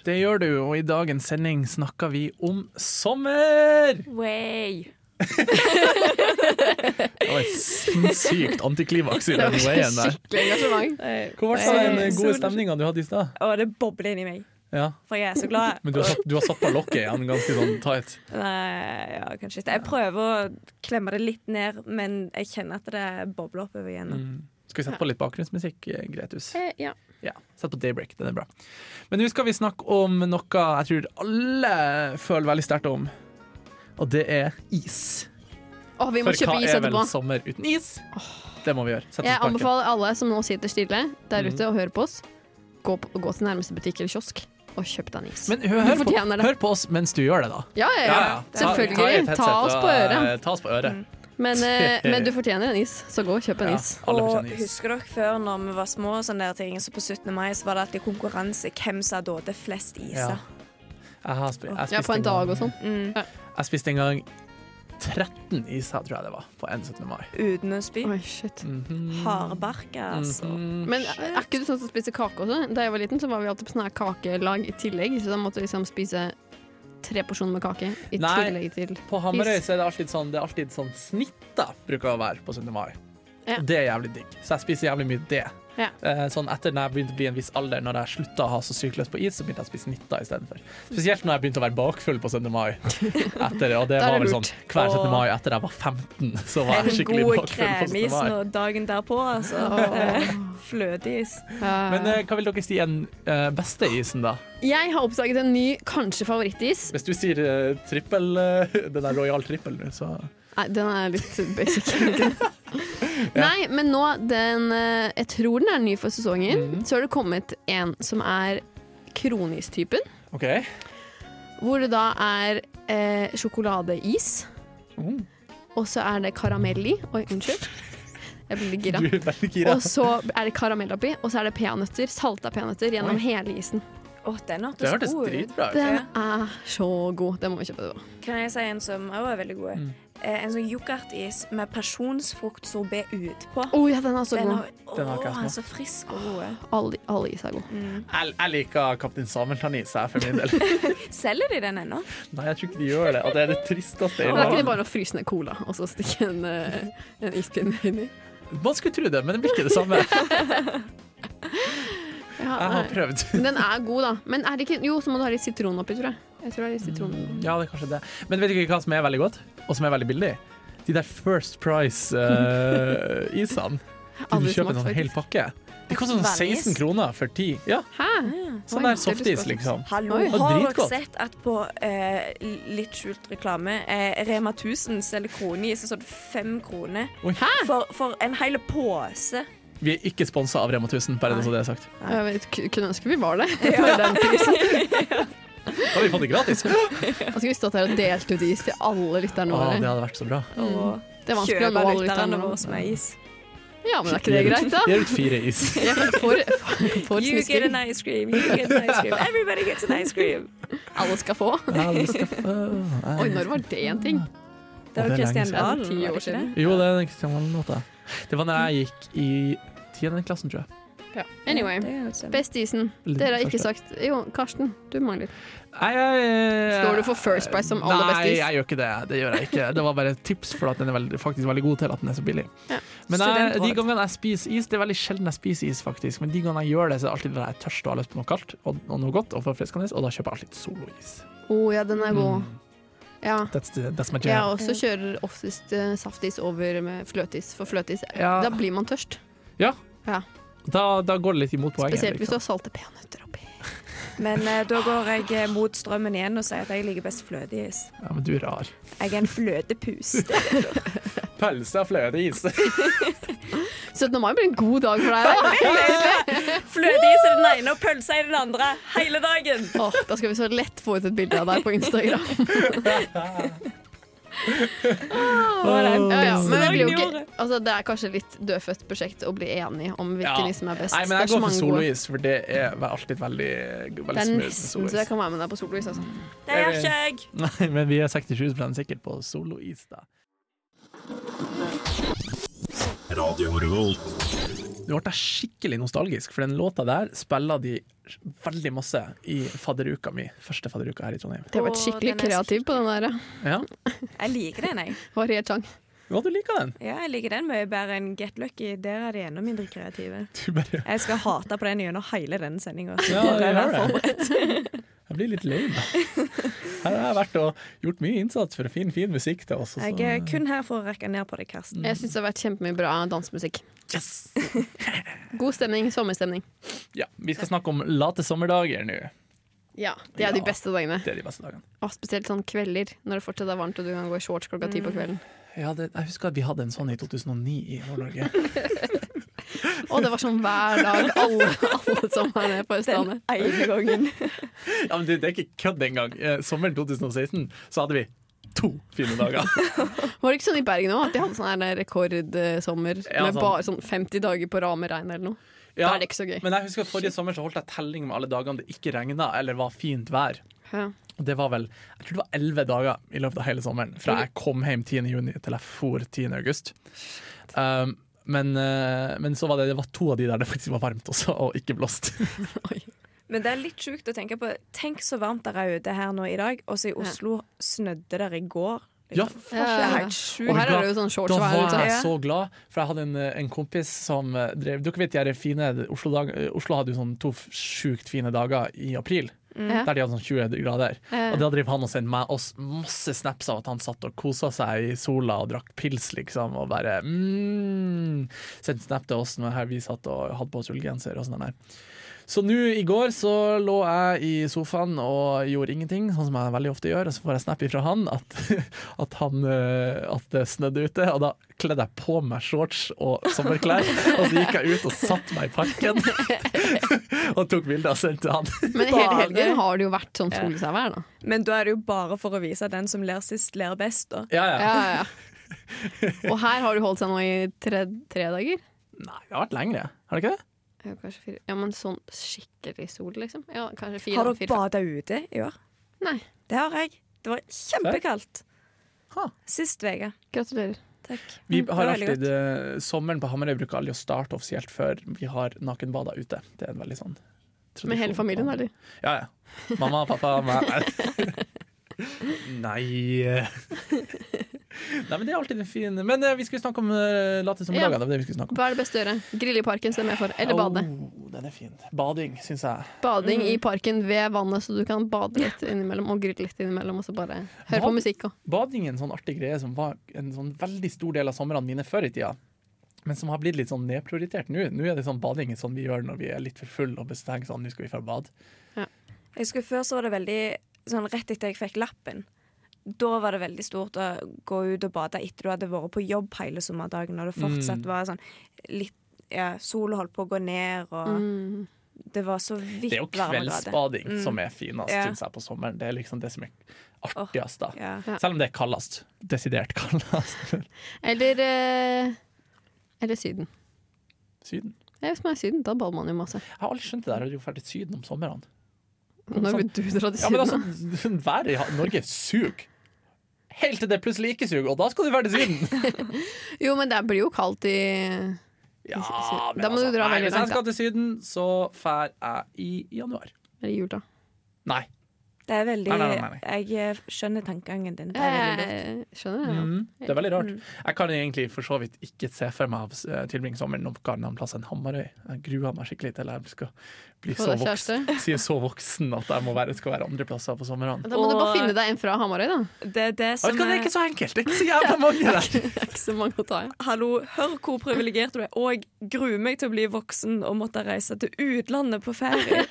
[SPEAKER 2] Det gjør du, og i dagens sending snakker vi om sommer!
[SPEAKER 3] Way.
[SPEAKER 2] Det var et sinnssykt antiklimaks i
[SPEAKER 4] Det
[SPEAKER 2] den
[SPEAKER 4] var
[SPEAKER 2] veien der.
[SPEAKER 4] skikkelig engasjement.
[SPEAKER 2] Hvor ble det av den gode stemninga du hadde i stad?
[SPEAKER 3] Og det bobler inni meg,
[SPEAKER 2] Ja.
[SPEAKER 3] for jeg er så glad.
[SPEAKER 2] Men du har, satt- du har satt på lokket igjen ganske sånn tight.
[SPEAKER 3] Nei, ja, kanskje ikke. Jeg prøver å klemme det litt ned, men jeg kjenner at det bobler oppover igjen.
[SPEAKER 2] Mm. Skal vi sette på litt bakgrunnsmusikk, eh, Gretus?
[SPEAKER 4] Eh, Ja.
[SPEAKER 2] Ja, Sett på Daybreak, den er bra. Men nå skal vi snakke om noe jeg tror alle føler veldig sterkt om, og det er is.
[SPEAKER 4] Åh, vi må
[SPEAKER 2] For hva
[SPEAKER 4] kjøpe is
[SPEAKER 2] er vel
[SPEAKER 4] etterpå.
[SPEAKER 2] sommer uten is? Det må vi gjøre. Sette
[SPEAKER 4] Jeg
[SPEAKER 2] oss bak
[SPEAKER 4] anbefaler alle som nå sitter stille der ute og hører på oss, gå, på, gå til nærmeste butikk eller kiosk og kjøp deg en is.
[SPEAKER 2] det. Men hør, hør,
[SPEAKER 4] du
[SPEAKER 2] på,
[SPEAKER 4] fortjener det.
[SPEAKER 2] hør på oss mens du gjør det, da.
[SPEAKER 4] Ja, ja, ja. Selvfølgelig. Ta, oss på øret.
[SPEAKER 2] eh, Ta oss på øret.
[SPEAKER 4] Men, eh, men du fortjener en is, så gå og kjøp en
[SPEAKER 2] Ja,
[SPEAKER 4] is.
[SPEAKER 2] alle
[SPEAKER 3] Og
[SPEAKER 2] fortjener is.
[SPEAKER 3] husker dere før når vi var små, og sånne der ting, så på 17. mai så var det alltid konkurranse hvem som hadde åte flest iser.
[SPEAKER 2] Ja. Jeg har spi- jeg
[SPEAKER 4] Ja,
[SPEAKER 2] spiste
[SPEAKER 4] på
[SPEAKER 2] en
[SPEAKER 4] en dag
[SPEAKER 2] gang-
[SPEAKER 4] og sånn.
[SPEAKER 3] Mm,
[SPEAKER 2] Jeg spiste en gang 13 iser, tror jeg det var, på en 17. mai.
[SPEAKER 3] uten å spy.
[SPEAKER 4] Oi, shit.
[SPEAKER 3] Mm.
[SPEAKER 2] Mhm.
[SPEAKER 3] Hardbarka, altså.
[SPEAKER 2] Mhm.
[SPEAKER 4] Men er ikke du sånn som spiser kake også? Da jeg var liten, så var vi alltid på sånne her kakelag i tillegg, så da måtte vi liksom spise tre porsjoner med kake i
[SPEAKER 2] Nei.
[SPEAKER 4] tillegg til
[SPEAKER 2] På Hamarøy så er det alltid sånn, det er alltid sånn snitt da, bruker å være på 17. mai.
[SPEAKER 4] Ja.
[SPEAKER 2] Det er jævlig digg. Så jeg spiser jævlig mye det.
[SPEAKER 4] Ja.
[SPEAKER 2] Eh, Sånn etter når jeg begynte å bli en viss alder, når jeg slutta å ha så sykt lyst på is, så begynte jeg å spise nitter istedenfor. Spesielt når jeg begynte å være bakfull på 17. mai. Etter, det, og det
[SPEAKER 4] Da er
[SPEAKER 2] var
[SPEAKER 4] det
[SPEAKER 2] vel
[SPEAKER 4] lurt.
[SPEAKER 2] sånn hver 17.
[SPEAKER 3] Åh.
[SPEAKER 2] mai etter jeg var 15, så var jeg
[SPEAKER 3] En
[SPEAKER 2] skikkelig
[SPEAKER 3] god
[SPEAKER 2] bakfull på 17.
[SPEAKER 3] kremis
[SPEAKER 2] mai.
[SPEAKER 3] nå dagen derpå, altså. Fløteis.
[SPEAKER 2] Men
[SPEAKER 4] Men
[SPEAKER 2] eh, hva vil dere si en eh, beste isen, da?
[SPEAKER 4] Jeg har oppdaget en ny kanskje favorittis.
[SPEAKER 2] Hvis du sier eh, trippel, eh, den der Royal Trippel nå, så
[SPEAKER 4] Nei, den er litt basic. Nei, men nå den eh, Jeg tror den er ny for sesongen.
[SPEAKER 2] Mhm.
[SPEAKER 4] Så har det kommet en som er kronistypen.
[SPEAKER 2] OK.
[SPEAKER 4] Hvor det da er eh, sjokoladeis,
[SPEAKER 2] Mm.
[SPEAKER 4] og så er det karamell i. Oi, unnskyld. Jeg blir litt
[SPEAKER 2] Du
[SPEAKER 4] gira.
[SPEAKER 2] er veldig gira.
[SPEAKER 4] Og så er det karamell oppi, og så er det peanøtter. Salta peanøtter gjennom
[SPEAKER 2] Oi.
[SPEAKER 4] hele isen.
[SPEAKER 3] Å, den
[SPEAKER 2] Det
[SPEAKER 3] hørtes
[SPEAKER 2] hørtes
[SPEAKER 3] god ut.
[SPEAKER 2] dritbra ut.
[SPEAKER 4] Den er så god. Den må vi kjøpe. Det var.
[SPEAKER 3] Kan jeg si en som også er veldig
[SPEAKER 2] Mm.
[SPEAKER 3] god? Eh, en sånn yoghurtis med pasjonsfruktsorbet utpå.
[SPEAKER 4] Oh, ja, den er så
[SPEAKER 3] Den
[SPEAKER 4] god.
[SPEAKER 3] har, å,
[SPEAKER 2] Den har ikke jeg
[SPEAKER 3] han er
[SPEAKER 2] smakt.
[SPEAKER 3] så frisk og god. eh.
[SPEAKER 4] Alle, alle is er gode.
[SPEAKER 2] Jeg, jeg liker Kaptein Sabeltann-is, jeg, for min del.
[SPEAKER 3] Selger de den ennå?
[SPEAKER 2] Nei, jeg tror ikke de gjør det. Og det er det tristeste i
[SPEAKER 4] Det er ikke
[SPEAKER 2] verden.
[SPEAKER 4] det bare å fryse ned cola og så stikke en, eh, en ispinne inni?
[SPEAKER 2] Man skulle tro det, men det blir ikke det samme.
[SPEAKER 4] Ja,
[SPEAKER 2] Jeg har
[SPEAKER 4] nei.
[SPEAKER 2] prøvd.
[SPEAKER 4] den er god, da. Men er det ikke Jo, så må du ha litt sitron oppi, tror jeg. Jeg tror det er litt sitron.
[SPEAKER 2] Ja, det er kanskje det. Men vet du ikke hva som er veldig godt, og som er veldig billig? De der First Price-isene. du
[SPEAKER 4] Aldri
[SPEAKER 2] kjøper
[SPEAKER 4] smakt,
[SPEAKER 2] en sånn hel
[SPEAKER 4] faktisk. pakke.
[SPEAKER 2] pakke. De koster sånn
[SPEAKER 3] Vannis?
[SPEAKER 2] 16 kroner for 10. Ja,
[SPEAKER 4] Hæ?
[SPEAKER 2] sånn
[SPEAKER 4] Oi,
[SPEAKER 2] der
[SPEAKER 4] det
[SPEAKER 2] softis,
[SPEAKER 4] lyst på.
[SPEAKER 2] liksom.
[SPEAKER 3] Hallo,
[SPEAKER 4] Oi.
[SPEAKER 2] Å,
[SPEAKER 3] Ah. har dere
[SPEAKER 2] dritgodt.
[SPEAKER 3] sett at på eh, litt skjult reklame eh, Rema 1000 selger kroneis til sånn fem kroner
[SPEAKER 2] Oi.
[SPEAKER 3] for, for en hel påse?
[SPEAKER 2] Vi er ikke sponsa av Rema 1000, bare så det er sagt.
[SPEAKER 4] Jeg vet, ku- kunne ønske vi var det. For den prisen.
[SPEAKER 2] Da har vi fått det gratis. Å,
[SPEAKER 4] Da skulle vi stått her og delt ut is til alle lytterne
[SPEAKER 2] det
[SPEAKER 4] våre.
[SPEAKER 2] hadde vært så bra.
[SPEAKER 3] Og
[SPEAKER 4] Mm. Det er vanskelig å nå
[SPEAKER 3] kjøper
[SPEAKER 4] alle lytterne
[SPEAKER 3] lytterne våre som er is.
[SPEAKER 4] Ja, men er ikke det
[SPEAKER 2] Gir ut-
[SPEAKER 4] greit, da?
[SPEAKER 2] Gir ut fire is.
[SPEAKER 4] Ja, men for, for, for
[SPEAKER 3] You get
[SPEAKER 4] snuskeri.
[SPEAKER 3] an ice cream, you get an ice cream. Everybody gets an ice cream.
[SPEAKER 4] Alle skal få.
[SPEAKER 2] Ja, vi skal få-
[SPEAKER 4] Oi, når var det en ting?
[SPEAKER 2] Det
[SPEAKER 3] Det var
[SPEAKER 2] er lenge
[SPEAKER 3] Kristian
[SPEAKER 2] siden.
[SPEAKER 3] Valen,
[SPEAKER 4] Ti
[SPEAKER 3] var
[SPEAKER 4] år
[SPEAKER 3] det ikke det?
[SPEAKER 4] siden.
[SPEAKER 2] Jo, det er den Kristian Valen-låta. Det var når jeg gikk i tiende klassen, tror jeg.
[SPEAKER 4] Ja. Anyway.
[SPEAKER 3] Det er jo sånn.
[SPEAKER 4] Best isen. Dere har ikke sagt Jo, Karsten, du mangler.
[SPEAKER 2] Nei, jeg- eh,
[SPEAKER 4] Står du for first price som aller best is?
[SPEAKER 2] Nei, jeg gjør ikke det. Det gjør jeg ikke. Det var bare et tips, for at den er veldig, faktisk veldig god til at den er så billig.
[SPEAKER 4] Ja.
[SPEAKER 2] Men jeg, de
[SPEAKER 3] Studentråd.
[SPEAKER 2] gangene jeg spiser is, det er veldig sjelden jeg spiser is, faktisk. Men de gangene jeg gjør det, så er det alltid når jeg er tørst og har lyst på noe kaldt og, og noe godt og forfriskende, og da kjøper jeg alltid solois.
[SPEAKER 4] Å ja, den er
[SPEAKER 2] Mm.
[SPEAKER 4] god. Ja.
[SPEAKER 2] That's, the- that's my
[SPEAKER 4] Jeg
[SPEAKER 2] jam.
[SPEAKER 4] også kjører oftest eh, saftis over med fløtis, for fløtis
[SPEAKER 2] Ja.
[SPEAKER 4] Da blir man tørst.
[SPEAKER 2] Ja.
[SPEAKER 4] Ja.
[SPEAKER 2] Da, da går det litt imot poenget.
[SPEAKER 4] Spesielt hvis du
[SPEAKER 2] liksom.
[SPEAKER 4] har salte peanøtter oppi.
[SPEAKER 3] Men eh, da går jeg eh, mot strømmen igjen og sier at jeg liker best fløteis.
[SPEAKER 2] Ja, men du er rar.
[SPEAKER 3] Jeg er en fløtepus.
[SPEAKER 2] Pølse og fløteis.
[SPEAKER 4] 17. mai blir en god dag for deg. da.
[SPEAKER 3] liksom Fløteis er den ene og pølse er den andre hele dagen.
[SPEAKER 4] Åh, da skal vi så lett få ut et bilde av deg på Instagram.
[SPEAKER 3] Og det er den
[SPEAKER 4] Ja, ja,
[SPEAKER 3] beste
[SPEAKER 4] men det, blir
[SPEAKER 3] dagen i
[SPEAKER 4] jo ikke,
[SPEAKER 3] året.
[SPEAKER 4] altså, det er kanskje litt dødfødt prosjekt å bli enig om hvilken is som er best.
[SPEAKER 2] Nei, men
[SPEAKER 4] Det
[SPEAKER 2] jeg
[SPEAKER 4] er så
[SPEAKER 2] går for
[SPEAKER 4] mange gode.
[SPEAKER 2] solois, for det er alltid veldig,
[SPEAKER 4] Det
[SPEAKER 2] veldig
[SPEAKER 4] er
[SPEAKER 2] smooth. med
[SPEAKER 4] nesten så
[SPEAKER 2] solois.
[SPEAKER 4] jeg kan være med deg på solois. Altså.
[SPEAKER 3] Det gjør ikke jeg.
[SPEAKER 2] Nei, men vi er 67 sikkert på solois, da.
[SPEAKER 5] Radio Revolt.
[SPEAKER 2] Nå ble jeg skikkelig nostalgisk, for den låta der spiller de veldig masse i fadderuka mi. Første fadderuka her i Trondheim.
[SPEAKER 4] Det har vært
[SPEAKER 3] Åh,
[SPEAKER 4] skikkelig
[SPEAKER 3] den er så
[SPEAKER 4] kreativ på den der.
[SPEAKER 2] Ja,
[SPEAKER 3] Jeg liker den, jeg.
[SPEAKER 4] Variert sang.
[SPEAKER 2] ja du liker den.
[SPEAKER 3] Ja, jeg liker den mye bedre enn Get Lucky. Der er de enda mindre kreative.
[SPEAKER 2] Du bare
[SPEAKER 3] Jeg skal hate på den gjennom hele denne sendinga.
[SPEAKER 2] Ja, jeg gjør det. Jeg blir litt lei meg. Her har jeg vært og gjort mye innsats for fin, fin musikk til oss. og så-
[SPEAKER 3] Jeg er kun her for å rekke ned på deg, Karsten.
[SPEAKER 4] Jeg syns det har vært kjempemye bra dansemusikk.
[SPEAKER 2] Yes!
[SPEAKER 4] God stemning. Sommerstemning.
[SPEAKER 2] Ja, vi skal snakke om late sommerdager nå.
[SPEAKER 4] Ja, Det er de
[SPEAKER 2] Ja.
[SPEAKER 4] beste dagene.
[SPEAKER 2] Det er de beste dagene.
[SPEAKER 4] Og spesielt sånn kvelder, når det fortsatt er varmt og du kan gå i shorts klokka ti på kvelden.
[SPEAKER 2] Ja, det, jeg husker at vi hadde en sånn i 2009 i Nord-Norge.
[SPEAKER 4] Og det var sånn hver dag, alle, alle som var nede på
[SPEAKER 3] Den
[SPEAKER 4] Østlandet.
[SPEAKER 3] ene gangen.
[SPEAKER 2] Ja, men det, det er ikke kødd engang. Eh, Sommeren 2016 så hadde vi to fine dager.
[SPEAKER 4] Var det ikke sånn i Bergen òg, at de hadde sånn her rekordsommer
[SPEAKER 2] Ja,
[SPEAKER 4] med
[SPEAKER 2] sånn.
[SPEAKER 4] bare sånn 50 dager på rad med regn eller noe? Da er det ikke så gøy.
[SPEAKER 2] Men jeg husker at forrige sommer så holdt jeg telling med alle dagene det ikke regna eller var fint vær.
[SPEAKER 4] Ja.
[SPEAKER 2] Og det var vel jeg tror det var elleve dager i løpet av hele sommeren, fra jeg kom hjem 10. juni til jeg for 10. august. Um, men, eh, men så var det, det var to av de der det faktisk var varmt også, og ikke blåst.
[SPEAKER 4] Oi.
[SPEAKER 3] Men det er litt sjukt å tenke på. Tenk så varmt det er ute her nå i dag, og så i Oslo snødde det i går.
[SPEAKER 2] Ja,
[SPEAKER 3] Det er
[SPEAKER 4] Ja.
[SPEAKER 3] helt
[SPEAKER 4] Og
[SPEAKER 3] sjukt.
[SPEAKER 4] her er det jo sånn
[SPEAKER 2] Da
[SPEAKER 4] shortsvær
[SPEAKER 2] var
[SPEAKER 4] ute.
[SPEAKER 2] jeg
[SPEAKER 3] Ja.
[SPEAKER 2] så glad, for jeg hadde en, eh, en kompis som eh, drev Dere vet de her fine Oslo-dag Oslo hadde jo sånn to f- sjukt fine dager i april,
[SPEAKER 4] Ja.
[SPEAKER 2] der de hadde sånn 20 grader.
[SPEAKER 4] Ja.
[SPEAKER 2] Og da drev han og sendte meg oss masse snaps av at han satt og kosa seg i sola og drakk pils, liksom, og bare mm, Sendte snap til oss når her vi satt og hadde på oss ullgenser og sånn der. Så nå i går så lå jeg i sofaen og gjorde ingenting, sånn som jeg veldig ofte gjør. Og så får jeg snap ifra han at, at, han, eh, at det snødde ute. Og da kledde jeg på meg shorts og sommerklær, og så gikk jeg ut og satte meg i parken. og tok bilde og sendte til han.
[SPEAKER 4] Men hele helgen har det jo vært sånn solsærvær, da.
[SPEAKER 3] Men da er det jo bare for å vise at den som ler sist, ler best. Da.
[SPEAKER 2] Ja, ja.
[SPEAKER 4] Ja, ja, ja. Og her har det holdt seg nå i tre, tre dager.
[SPEAKER 2] Nei, det har vært lengre, har det ikke det?
[SPEAKER 4] Ja, kanskje fire. Ja, men sånn skikkelig sol, liksom. Ja, kanskje fire.
[SPEAKER 3] Har dere
[SPEAKER 4] fire, fem.
[SPEAKER 3] bada ute i år?
[SPEAKER 4] Nei.
[SPEAKER 3] Det har jeg. Det var kjempekaldt.
[SPEAKER 2] Ha.
[SPEAKER 3] Sist uke.
[SPEAKER 4] Gratulerer.
[SPEAKER 3] Takk.
[SPEAKER 2] Vi
[SPEAKER 3] Mm, det
[SPEAKER 2] har
[SPEAKER 3] var veldig
[SPEAKER 2] alltid eh, Sommeren på Hamarøy bruker aldri å starte offisielt før vi har nakenbada ute. Det er en veldig sånn tradisjon.
[SPEAKER 4] Med hele familien, eller?
[SPEAKER 2] Ja, ja. Mamma, pappa, meg. Nei Nei, men det er alltid en fin Men eh, vi skulle snakke om uh, late som
[SPEAKER 4] Ja.
[SPEAKER 2] dagen. Det var det vi skulle snakke om.
[SPEAKER 4] Hva er det beste å gjøre? Grille i parken stemmer jeg for. Eller bade.
[SPEAKER 2] Oh, den er fin. Bading, syns jeg.
[SPEAKER 4] Bading i parken ved vannet, så du kan bade litt innimellom og grille litt innimellom. Og så bare høre på
[SPEAKER 2] Bad-
[SPEAKER 4] musikk og
[SPEAKER 2] Bading er en sånn artig greie som var en sånn veldig stor del av somrene mine før i tida. Men som har blitt litt sånn nedprioritert nå. Nå er det sånn bading sånn vi gjør når vi er litt for full og bestemmer sånn, nå skal vi dra og bade.
[SPEAKER 3] Jeg husker Før så var det veldig sånn rett etter jeg fikk lappen. Da var det veldig stort å gå ut og bade etter du hadde vært på jobb hele sommerdagen. Og det
[SPEAKER 2] Mm.
[SPEAKER 3] fortsatt var sånn litt ja, Sola holdt på å gå ned, og Mm. det var så
[SPEAKER 2] Det er jo
[SPEAKER 3] vidt varmegrader.
[SPEAKER 2] kveldsbading
[SPEAKER 4] Mm.
[SPEAKER 2] som er finest,
[SPEAKER 3] Ja.
[SPEAKER 2] syns jeg, på sommeren. Det er liksom det som er artigst, da.
[SPEAKER 3] Ja.
[SPEAKER 4] Ja.
[SPEAKER 2] Selv om det er kaldest. Desidert kaldest.
[SPEAKER 4] Eller eh, Eller Syden.
[SPEAKER 2] Syden.
[SPEAKER 4] Ja, Hvis man er i Syden, da bader man jo masse.
[SPEAKER 2] Jeg har aldri skjønt det der, jeg har jo ferdig til Syden om sommeren.
[SPEAKER 4] Når vil du dra til
[SPEAKER 2] Ja, men altså,
[SPEAKER 4] Syden?
[SPEAKER 2] været i Norge suger. Helt til det plutselig ikke suger, og da skal du være til Syden!
[SPEAKER 4] da? Jo, men det blir jo kaldt i
[SPEAKER 2] Ja,
[SPEAKER 4] Syden.
[SPEAKER 2] men
[SPEAKER 4] altså. Da må du dra
[SPEAKER 2] nei,
[SPEAKER 4] veldig
[SPEAKER 2] Hvis jeg
[SPEAKER 4] langt,
[SPEAKER 2] skal til Syden, så drar jeg i januar.
[SPEAKER 4] Eller i jula.
[SPEAKER 2] Nei.
[SPEAKER 3] Det er veldig
[SPEAKER 2] Nei, nei, nei,
[SPEAKER 3] Jeg eh, skjønner tankegangen din. Det er veldig lurt.
[SPEAKER 4] Jeg Eh, skjønner det. Ja.
[SPEAKER 2] Mm, det er veldig rart. Jeg kan egentlig for så vidt ikke se for meg å eh, tilbringe sommeren noen annen plass enn Hamarøy. Jeg gruer meg skikkelig til jeg skal bli
[SPEAKER 4] Få
[SPEAKER 2] så
[SPEAKER 4] deg
[SPEAKER 2] voksen,
[SPEAKER 4] kjæreste.
[SPEAKER 2] si så voksen at jeg må være, skal være andre plasser på sommeren.
[SPEAKER 4] Da må du bare
[SPEAKER 3] Og-
[SPEAKER 4] finne deg en fra Hamarøy, da.
[SPEAKER 3] Det er det
[SPEAKER 2] Jeg vet
[SPEAKER 3] som
[SPEAKER 2] ikke, det er
[SPEAKER 3] er
[SPEAKER 2] ikke så enkelt! Det er ikke så jævla mange der!
[SPEAKER 4] Det er ikke så mange å ta i.
[SPEAKER 3] Hallo, hør hvor privilegert du er, og jeg gruer meg til å bli voksen og måtte reise til utlandet på ferie.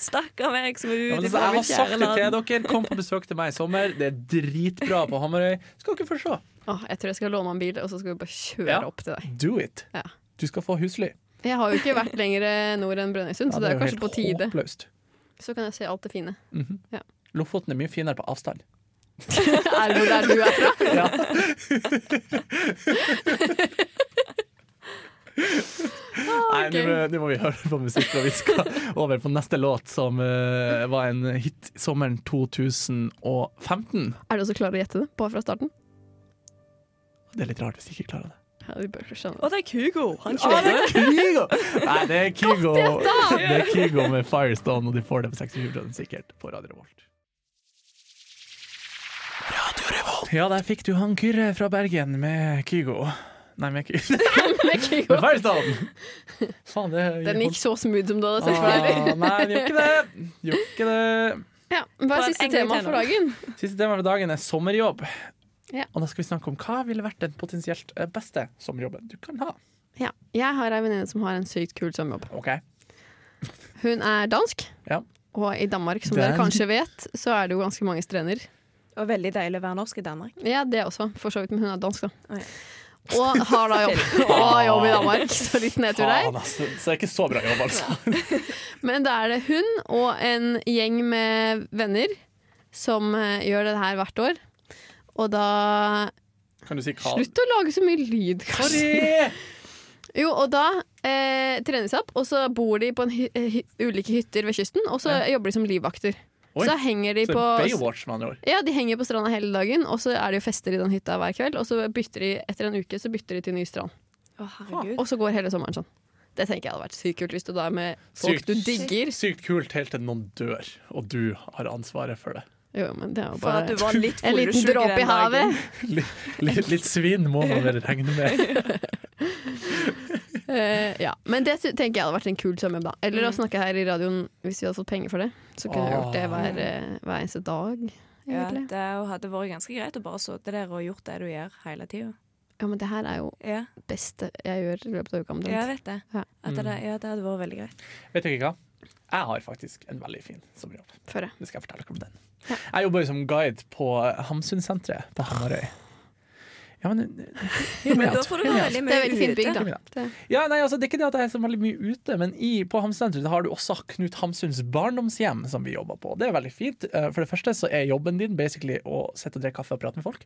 [SPEAKER 3] Stakkar meg som er
[SPEAKER 2] Ja, men
[SPEAKER 3] ute
[SPEAKER 2] altså,
[SPEAKER 3] fra
[SPEAKER 2] jeg har
[SPEAKER 3] mitt
[SPEAKER 2] sagt
[SPEAKER 3] kjære
[SPEAKER 2] det til
[SPEAKER 3] land.
[SPEAKER 2] dere, kom på besøk til meg i sommer. Det er dritbra på Hamarøy. Skal dere få se.
[SPEAKER 4] Åh, jeg tror jeg skal låne meg en bil, og så skal vi bare kjøre
[SPEAKER 2] Ja.
[SPEAKER 4] opp til deg.
[SPEAKER 2] Do it!
[SPEAKER 4] Ja.
[SPEAKER 2] Du skal få husly.
[SPEAKER 4] Jeg har jo ikke vært lenger eh, nord enn Brønnøysund, så det er jo kanskje
[SPEAKER 2] helt
[SPEAKER 4] på tide.
[SPEAKER 2] Håpløst.
[SPEAKER 4] Så kan jeg se alt det fine.
[SPEAKER 2] Lofoten er mye finere på avstand.
[SPEAKER 4] Er det der du er fra?
[SPEAKER 2] Ja. Nei, nå må- nå må vi høre på musikk, og vi skal over på neste låt, som eh, var en hit sommeren 2015.
[SPEAKER 4] Er du også klar å gjette det? Bare fra starten?
[SPEAKER 2] Det er litt rart hvis jeg ikke klarer det.
[SPEAKER 4] Ja, vi bør skjønne det.
[SPEAKER 3] Og det er Kygo. Han
[SPEAKER 2] Ah, det
[SPEAKER 3] kjører.
[SPEAKER 2] er Kygo! Nei, det er Kygo Det er Kygo med Firestone, og de får det på 67 sikkert på Radio Revolt. Ja, der fikk du han Kyrre fra Bergen med Kygo. Nei, med Kygo. Men
[SPEAKER 4] Mexico.
[SPEAKER 2] Firestone! Faen, det
[SPEAKER 4] Den gikk så smooth som du hadde sett for deg.
[SPEAKER 2] ah, Nei, den gjorde ikke det. Gjorde ikke det.
[SPEAKER 4] Ja, hva
[SPEAKER 3] På
[SPEAKER 4] er
[SPEAKER 3] en
[SPEAKER 4] siste
[SPEAKER 3] enkel
[SPEAKER 4] tema for
[SPEAKER 3] tenor.
[SPEAKER 4] dagen?
[SPEAKER 2] Siste tema for dagen er sommerjobb.
[SPEAKER 4] Ja.
[SPEAKER 2] Og da skal vi snakke om hva ville vært den potensielt eh, beste sommerjobben du kan ha.
[SPEAKER 4] Ja, jeg har ei venninne som har en sykt kul sommerjobb.
[SPEAKER 2] Ok,
[SPEAKER 4] Hun er dansk,
[SPEAKER 2] Ja.
[SPEAKER 4] og i Danmark, som
[SPEAKER 2] Der.
[SPEAKER 4] dere kanskje vet, så er det jo ganske mange strender.
[SPEAKER 3] Og veldig deilig å være norsk i Danmark.
[SPEAKER 4] Ja, det også, for så vidt. Men hun er dansk, da.
[SPEAKER 3] Å, ja.
[SPEAKER 4] Og har da jobb, og har jobb i Danmark, så litt nedtur der.
[SPEAKER 2] Faen, altså. Så det er ikke så bra jobb, altså.
[SPEAKER 4] Men da er det hun og en gjeng med venner som eh, gjør det her hvert år. Og da
[SPEAKER 2] Kan du si hva?
[SPEAKER 4] Slutt å lage så mye lyd, kanskje.
[SPEAKER 2] Sorry!
[SPEAKER 4] Jo, og da eh, trenes de opp, og så bor de på en hy eh, hy ulike hytter ved kysten, og så jobber de som livvakter.
[SPEAKER 2] Oi,
[SPEAKER 4] Så henger de
[SPEAKER 2] Så
[SPEAKER 4] på
[SPEAKER 2] Baywatch, med andre ord.
[SPEAKER 4] Ja, de henger på stranda hele dagen, og så er det jo fester i den hytta hver kveld. Og så bytter de etter en uke så bytter de til ny strand.
[SPEAKER 3] Å, herregud.
[SPEAKER 4] Og så går hele sommeren sånn. Det tenker jeg hadde vært sykt kult hvis du da er med folk
[SPEAKER 2] Sykt.
[SPEAKER 4] du digger.
[SPEAKER 2] Sykt kult helt til noen dør, og du har ansvaret for det.
[SPEAKER 4] Jo, men det er jo
[SPEAKER 3] For at
[SPEAKER 4] bare
[SPEAKER 3] du var litt
[SPEAKER 4] en liten
[SPEAKER 3] fyllesyk
[SPEAKER 4] dråpe i
[SPEAKER 3] den dagen.
[SPEAKER 4] havet.
[SPEAKER 2] Litt, litt svinn må man vel regne med.
[SPEAKER 4] Eh, ja. Men det sy- tenker jeg hadde vært en kul sommerjobb, da. Eller
[SPEAKER 3] Mm.
[SPEAKER 4] å snakke her i radioen hvis vi hadde fått penger for det. Så kunne vi gjort det hver, eh, hver eneste dag.
[SPEAKER 3] Ja,
[SPEAKER 4] Egentlig.
[SPEAKER 3] det hadde vært ganske greit å bare sitte der og gjort det du gjør hele tida.
[SPEAKER 4] Ja, men det her er jo
[SPEAKER 3] Ja,
[SPEAKER 4] beste jeg gjør i løpet av uka.
[SPEAKER 3] jeg
[SPEAKER 4] omtrent.
[SPEAKER 3] vet det.
[SPEAKER 4] Ja.
[SPEAKER 3] At det,
[SPEAKER 2] Mm.
[SPEAKER 3] ja, det hadde vært veldig greit.
[SPEAKER 2] Vet dere hva? Jeg har faktisk en veldig fin sommerjobb.
[SPEAKER 4] Før jeg.
[SPEAKER 2] Det skal jeg fortelle dere om den. Jeg jobber jo som guide på Hamsunsenteret på Hamarøy. Ja, men Jo, men
[SPEAKER 3] Men da får du være veldig
[SPEAKER 4] Det
[SPEAKER 3] mye
[SPEAKER 4] er veldig fint
[SPEAKER 3] ute.
[SPEAKER 4] bygg, da.
[SPEAKER 2] Ja.
[SPEAKER 4] Det-
[SPEAKER 2] Ja, nei, altså, det er ikke det at jeg er så veldig mye ute, men i, på Hamsunsenteret så har du også Knut Hamsuns barndomshjem, som vi jobber på. Det er veldig fint. Eh, For det første så er jobben din basically å sitte og drikke kaffe og prate med folk,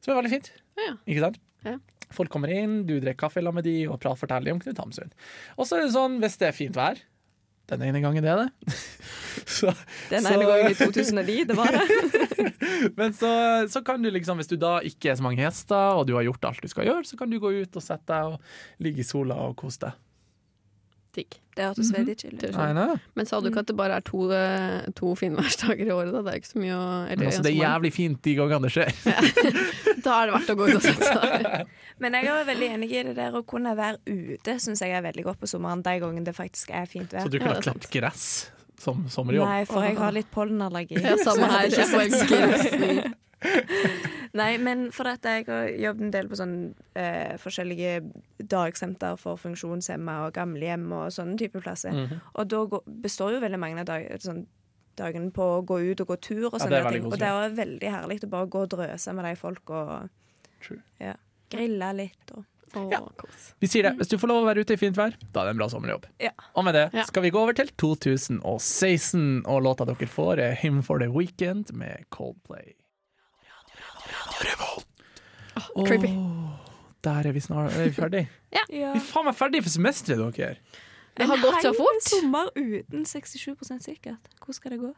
[SPEAKER 2] som er veldig fint.
[SPEAKER 4] Ja.
[SPEAKER 2] Ikke sant?
[SPEAKER 4] Ja.
[SPEAKER 2] Folk kommer inn, du drikker kaffe sammen med de og prater forteller om Knut Hamsun. Og så er det sånn, hvis det er fint vær Den ene gangen det er det. så,
[SPEAKER 3] Den
[SPEAKER 2] Så-
[SPEAKER 3] ene gangen i 2009, det var det.
[SPEAKER 2] men så, så kan du liksom, hvis du da ikke er så mange gjester, og du har gjort alt du skal gjøre, så kan du gå ut og sette deg og ligge i sola og kose deg.
[SPEAKER 4] Digg.
[SPEAKER 3] Det
[SPEAKER 2] Mhm.
[SPEAKER 3] hørtes veldig chill ut.
[SPEAKER 4] Det er sånn. Men sa du ikke at det bare er to, eh, to finværsdager i året? Da? Det er ikke så mye å eller
[SPEAKER 2] Men altså, det er
[SPEAKER 4] en sommer.
[SPEAKER 2] jævlig fint de gangene det skjer.
[SPEAKER 4] Da er det verdt å gå ut og sette seg.
[SPEAKER 3] Men jeg er veldig enig i det der å kunne være ute, syns jeg er veldig godt på sommeren. De gangene det faktisk er fint
[SPEAKER 2] Så
[SPEAKER 3] vær.
[SPEAKER 2] du
[SPEAKER 4] Ja, det
[SPEAKER 2] kunne
[SPEAKER 4] er
[SPEAKER 2] ha
[SPEAKER 4] sant.
[SPEAKER 2] klippet gress som sommerjobb.
[SPEAKER 3] Nei, for jeg har litt pollenallergi.
[SPEAKER 4] Ja, samme
[SPEAKER 3] Så
[SPEAKER 4] her.
[SPEAKER 3] jeg
[SPEAKER 4] Jeg
[SPEAKER 3] hadde ikke sett-
[SPEAKER 4] bare grensen.
[SPEAKER 3] Nei, men for at jeg har jobbet en del på sånn eh, forskjellige dagsenter for funksjonshemma og gamlehjem og sånne type plasser.
[SPEAKER 2] Mm. Mhm.
[SPEAKER 3] Og da gå- består jo veldig mange av dag, sånn, dagene på å gå ut og gå tur og
[SPEAKER 2] Ja,
[SPEAKER 3] sånne
[SPEAKER 2] det er veldig
[SPEAKER 3] ting. Og
[SPEAKER 2] koselig.
[SPEAKER 3] det er veldig herlig å bare gå og drøse med de folk og
[SPEAKER 2] True.
[SPEAKER 3] ja, grille litt og
[SPEAKER 4] Åh,
[SPEAKER 2] Ja.
[SPEAKER 4] kos.
[SPEAKER 2] Vi sier det. Hvis du får lov å være ute i fint vær, da er det en bra sommerjobb.
[SPEAKER 3] Ja.
[SPEAKER 2] Og med det
[SPEAKER 4] Ja.
[SPEAKER 2] skal vi gå over til 2016, og låta dere får er Him for the Weekend med Coldplay. Åh,
[SPEAKER 4] creepy.
[SPEAKER 2] Der er vi snart er vi ferdig.
[SPEAKER 3] ja.
[SPEAKER 2] Vi er faen meg ferdig for semesteret, dere.
[SPEAKER 4] Det har gått så fort.
[SPEAKER 3] sommer uten 67 sikkert. Hvor skal det gå?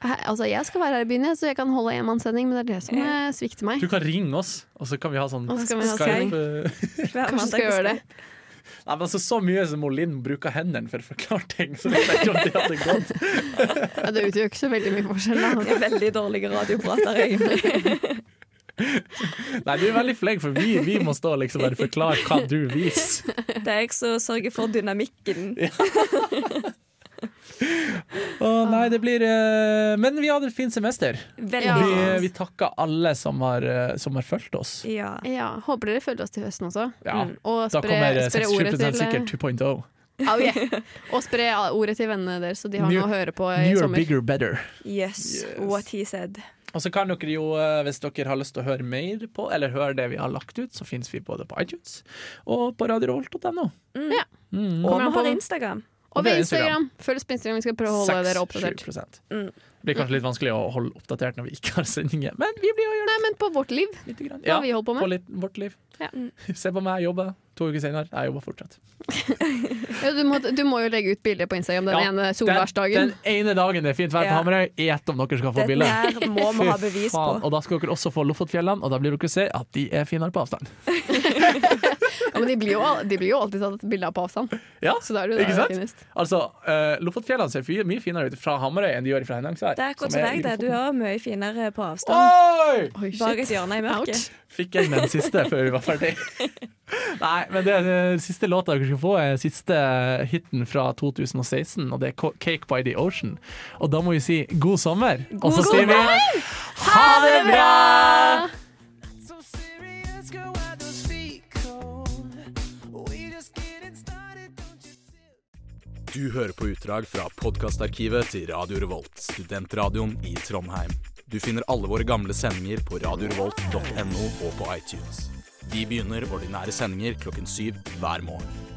[SPEAKER 4] Hæ, Altså, jeg skal være her i byen, jeg, så jeg kan holde enmannssending, men det er det som eh, svikter meg.
[SPEAKER 2] Du kan ringe oss, og så kan vi ha sånn
[SPEAKER 4] Og så skal vi ha sending.
[SPEAKER 2] Skype.
[SPEAKER 4] Kanskje skal jeg
[SPEAKER 3] sånn,
[SPEAKER 4] gjøre det.
[SPEAKER 2] Nei, men altså, så mye som Linn bruker hendene for å forklare ting, så vet jeg ikke om det hadde gått.
[SPEAKER 4] Ja, det utgjør ikke så veldig mye forskjell. Da.
[SPEAKER 3] Jeg er veldig dårlige radioprater, egentlig.
[SPEAKER 2] Nei, du er veldig flink, for vi, vi må stå og liksom bare forklare hva du viser.
[SPEAKER 3] Det er jeg som sørger for dynamikken.
[SPEAKER 2] Å nei, det blir eh, Men vi hadde et fint semester.
[SPEAKER 3] Veldig
[SPEAKER 4] Ja.
[SPEAKER 2] Vi, eh,
[SPEAKER 3] fint.
[SPEAKER 2] vi takker alle som har, eh, som har fulgt oss.
[SPEAKER 3] Ja.
[SPEAKER 4] Ja, Håper dere følger oss til høsten også.
[SPEAKER 2] Ja.
[SPEAKER 4] Og
[SPEAKER 2] Da
[SPEAKER 4] Mm. spre,
[SPEAKER 2] kommer eh,
[SPEAKER 4] spre ordet
[SPEAKER 2] 67
[SPEAKER 4] til
[SPEAKER 2] sikkert oh. 2.0.
[SPEAKER 4] Au, yeah. Og spre ordet til vennene deres, så de har
[SPEAKER 2] New-
[SPEAKER 4] noe å høre på i
[SPEAKER 2] You're
[SPEAKER 4] sommer.
[SPEAKER 2] bigger, better.
[SPEAKER 3] Yes,
[SPEAKER 2] Yes.
[SPEAKER 3] what he said.
[SPEAKER 2] Og så kan dere jo, eh, hvis dere har lyst til å høre mer på, eller høre det vi har lagt ut, så finnes vi både på iTunes og på radiorevolt.no.
[SPEAKER 4] Ja.
[SPEAKER 2] Mm.
[SPEAKER 3] Og
[SPEAKER 4] Kommer han på
[SPEAKER 3] vi har
[SPEAKER 4] den?
[SPEAKER 3] Instagram.
[SPEAKER 4] Og
[SPEAKER 2] Det er
[SPEAKER 4] ved
[SPEAKER 2] Instagram.
[SPEAKER 4] Instagram. Følg oss på Instagram, vi skal prøve å holde dere oppdatert.
[SPEAKER 2] 6-7%.
[SPEAKER 3] Mm.
[SPEAKER 2] Det blir kanskje litt vanskelig å holde oppdatert når vi ikke har sendinger, men vi blir å gjøre
[SPEAKER 4] Nei, men på vårt liv.
[SPEAKER 2] det lite grann.
[SPEAKER 4] Hva har vi holdt på med?
[SPEAKER 2] litt, vårt liv.
[SPEAKER 4] Ja.
[SPEAKER 2] Se på meg, jeg jobber. To uker senere, jeg jobber fortsatt.
[SPEAKER 4] Ja, du, må, du må jo legge ut bilder på Instagram den
[SPEAKER 2] Ja,
[SPEAKER 4] ene
[SPEAKER 2] Den,
[SPEAKER 4] solværsdagen.
[SPEAKER 2] den ene dagen det er fint vær på
[SPEAKER 3] Ja.
[SPEAKER 2] Hamarøy, gjett om dere skal få
[SPEAKER 3] Dette
[SPEAKER 2] bilde.
[SPEAKER 3] her må vi ha
[SPEAKER 2] Fy
[SPEAKER 3] bevis
[SPEAKER 2] faen,
[SPEAKER 3] på.
[SPEAKER 2] Og da skal dere også få Lofotfjellene, og da blir dere se at de er finere på avstand.
[SPEAKER 4] Ja, men de blir, jo, al- de blir jo alltid tatt bilder av på avstand.
[SPEAKER 2] Ja,
[SPEAKER 4] Så da er det jo
[SPEAKER 2] ikke
[SPEAKER 4] det
[SPEAKER 2] sant?
[SPEAKER 4] finest.
[SPEAKER 2] Altså, eh, Lofotfjellene ser fy- mye finere ut fra Hamarøy enn de gjør fra Henningsvær.
[SPEAKER 3] Det er akkurat
[SPEAKER 2] som
[SPEAKER 3] som
[SPEAKER 2] er
[SPEAKER 3] deg,
[SPEAKER 2] i
[SPEAKER 3] det. Du er mye finere på avstand.
[SPEAKER 2] Oi!
[SPEAKER 4] Oi, shit.
[SPEAKER 3] Bak et hjørne i mørket.
[SPEAKER 4] Ouch.
[SPEAKER 2] Fikk jeg den siste før vi var ferdig? Nei, men det, det siste låta dere skal få, er siste hiten fra 2016, og det er Ko- 'Cake by the Ocean'. Og da må vi si god sommer, og så
[SPEAKER 3] God
[SPEAKER 2] sier vi ha det bra!
[SPEAKER 1] So serious, girl, why those feet cold? We just getting started, don't you see?
[SPEAKER 6] Du hører på utdrag fra podkastarkivet til Radio Revolt, studentradioen i Trondheim. Du finner alle våre gamle sendinger på radiorevolt.no og på iTunes. Vi begynner ordinære sendinger klokken syv hver morgen.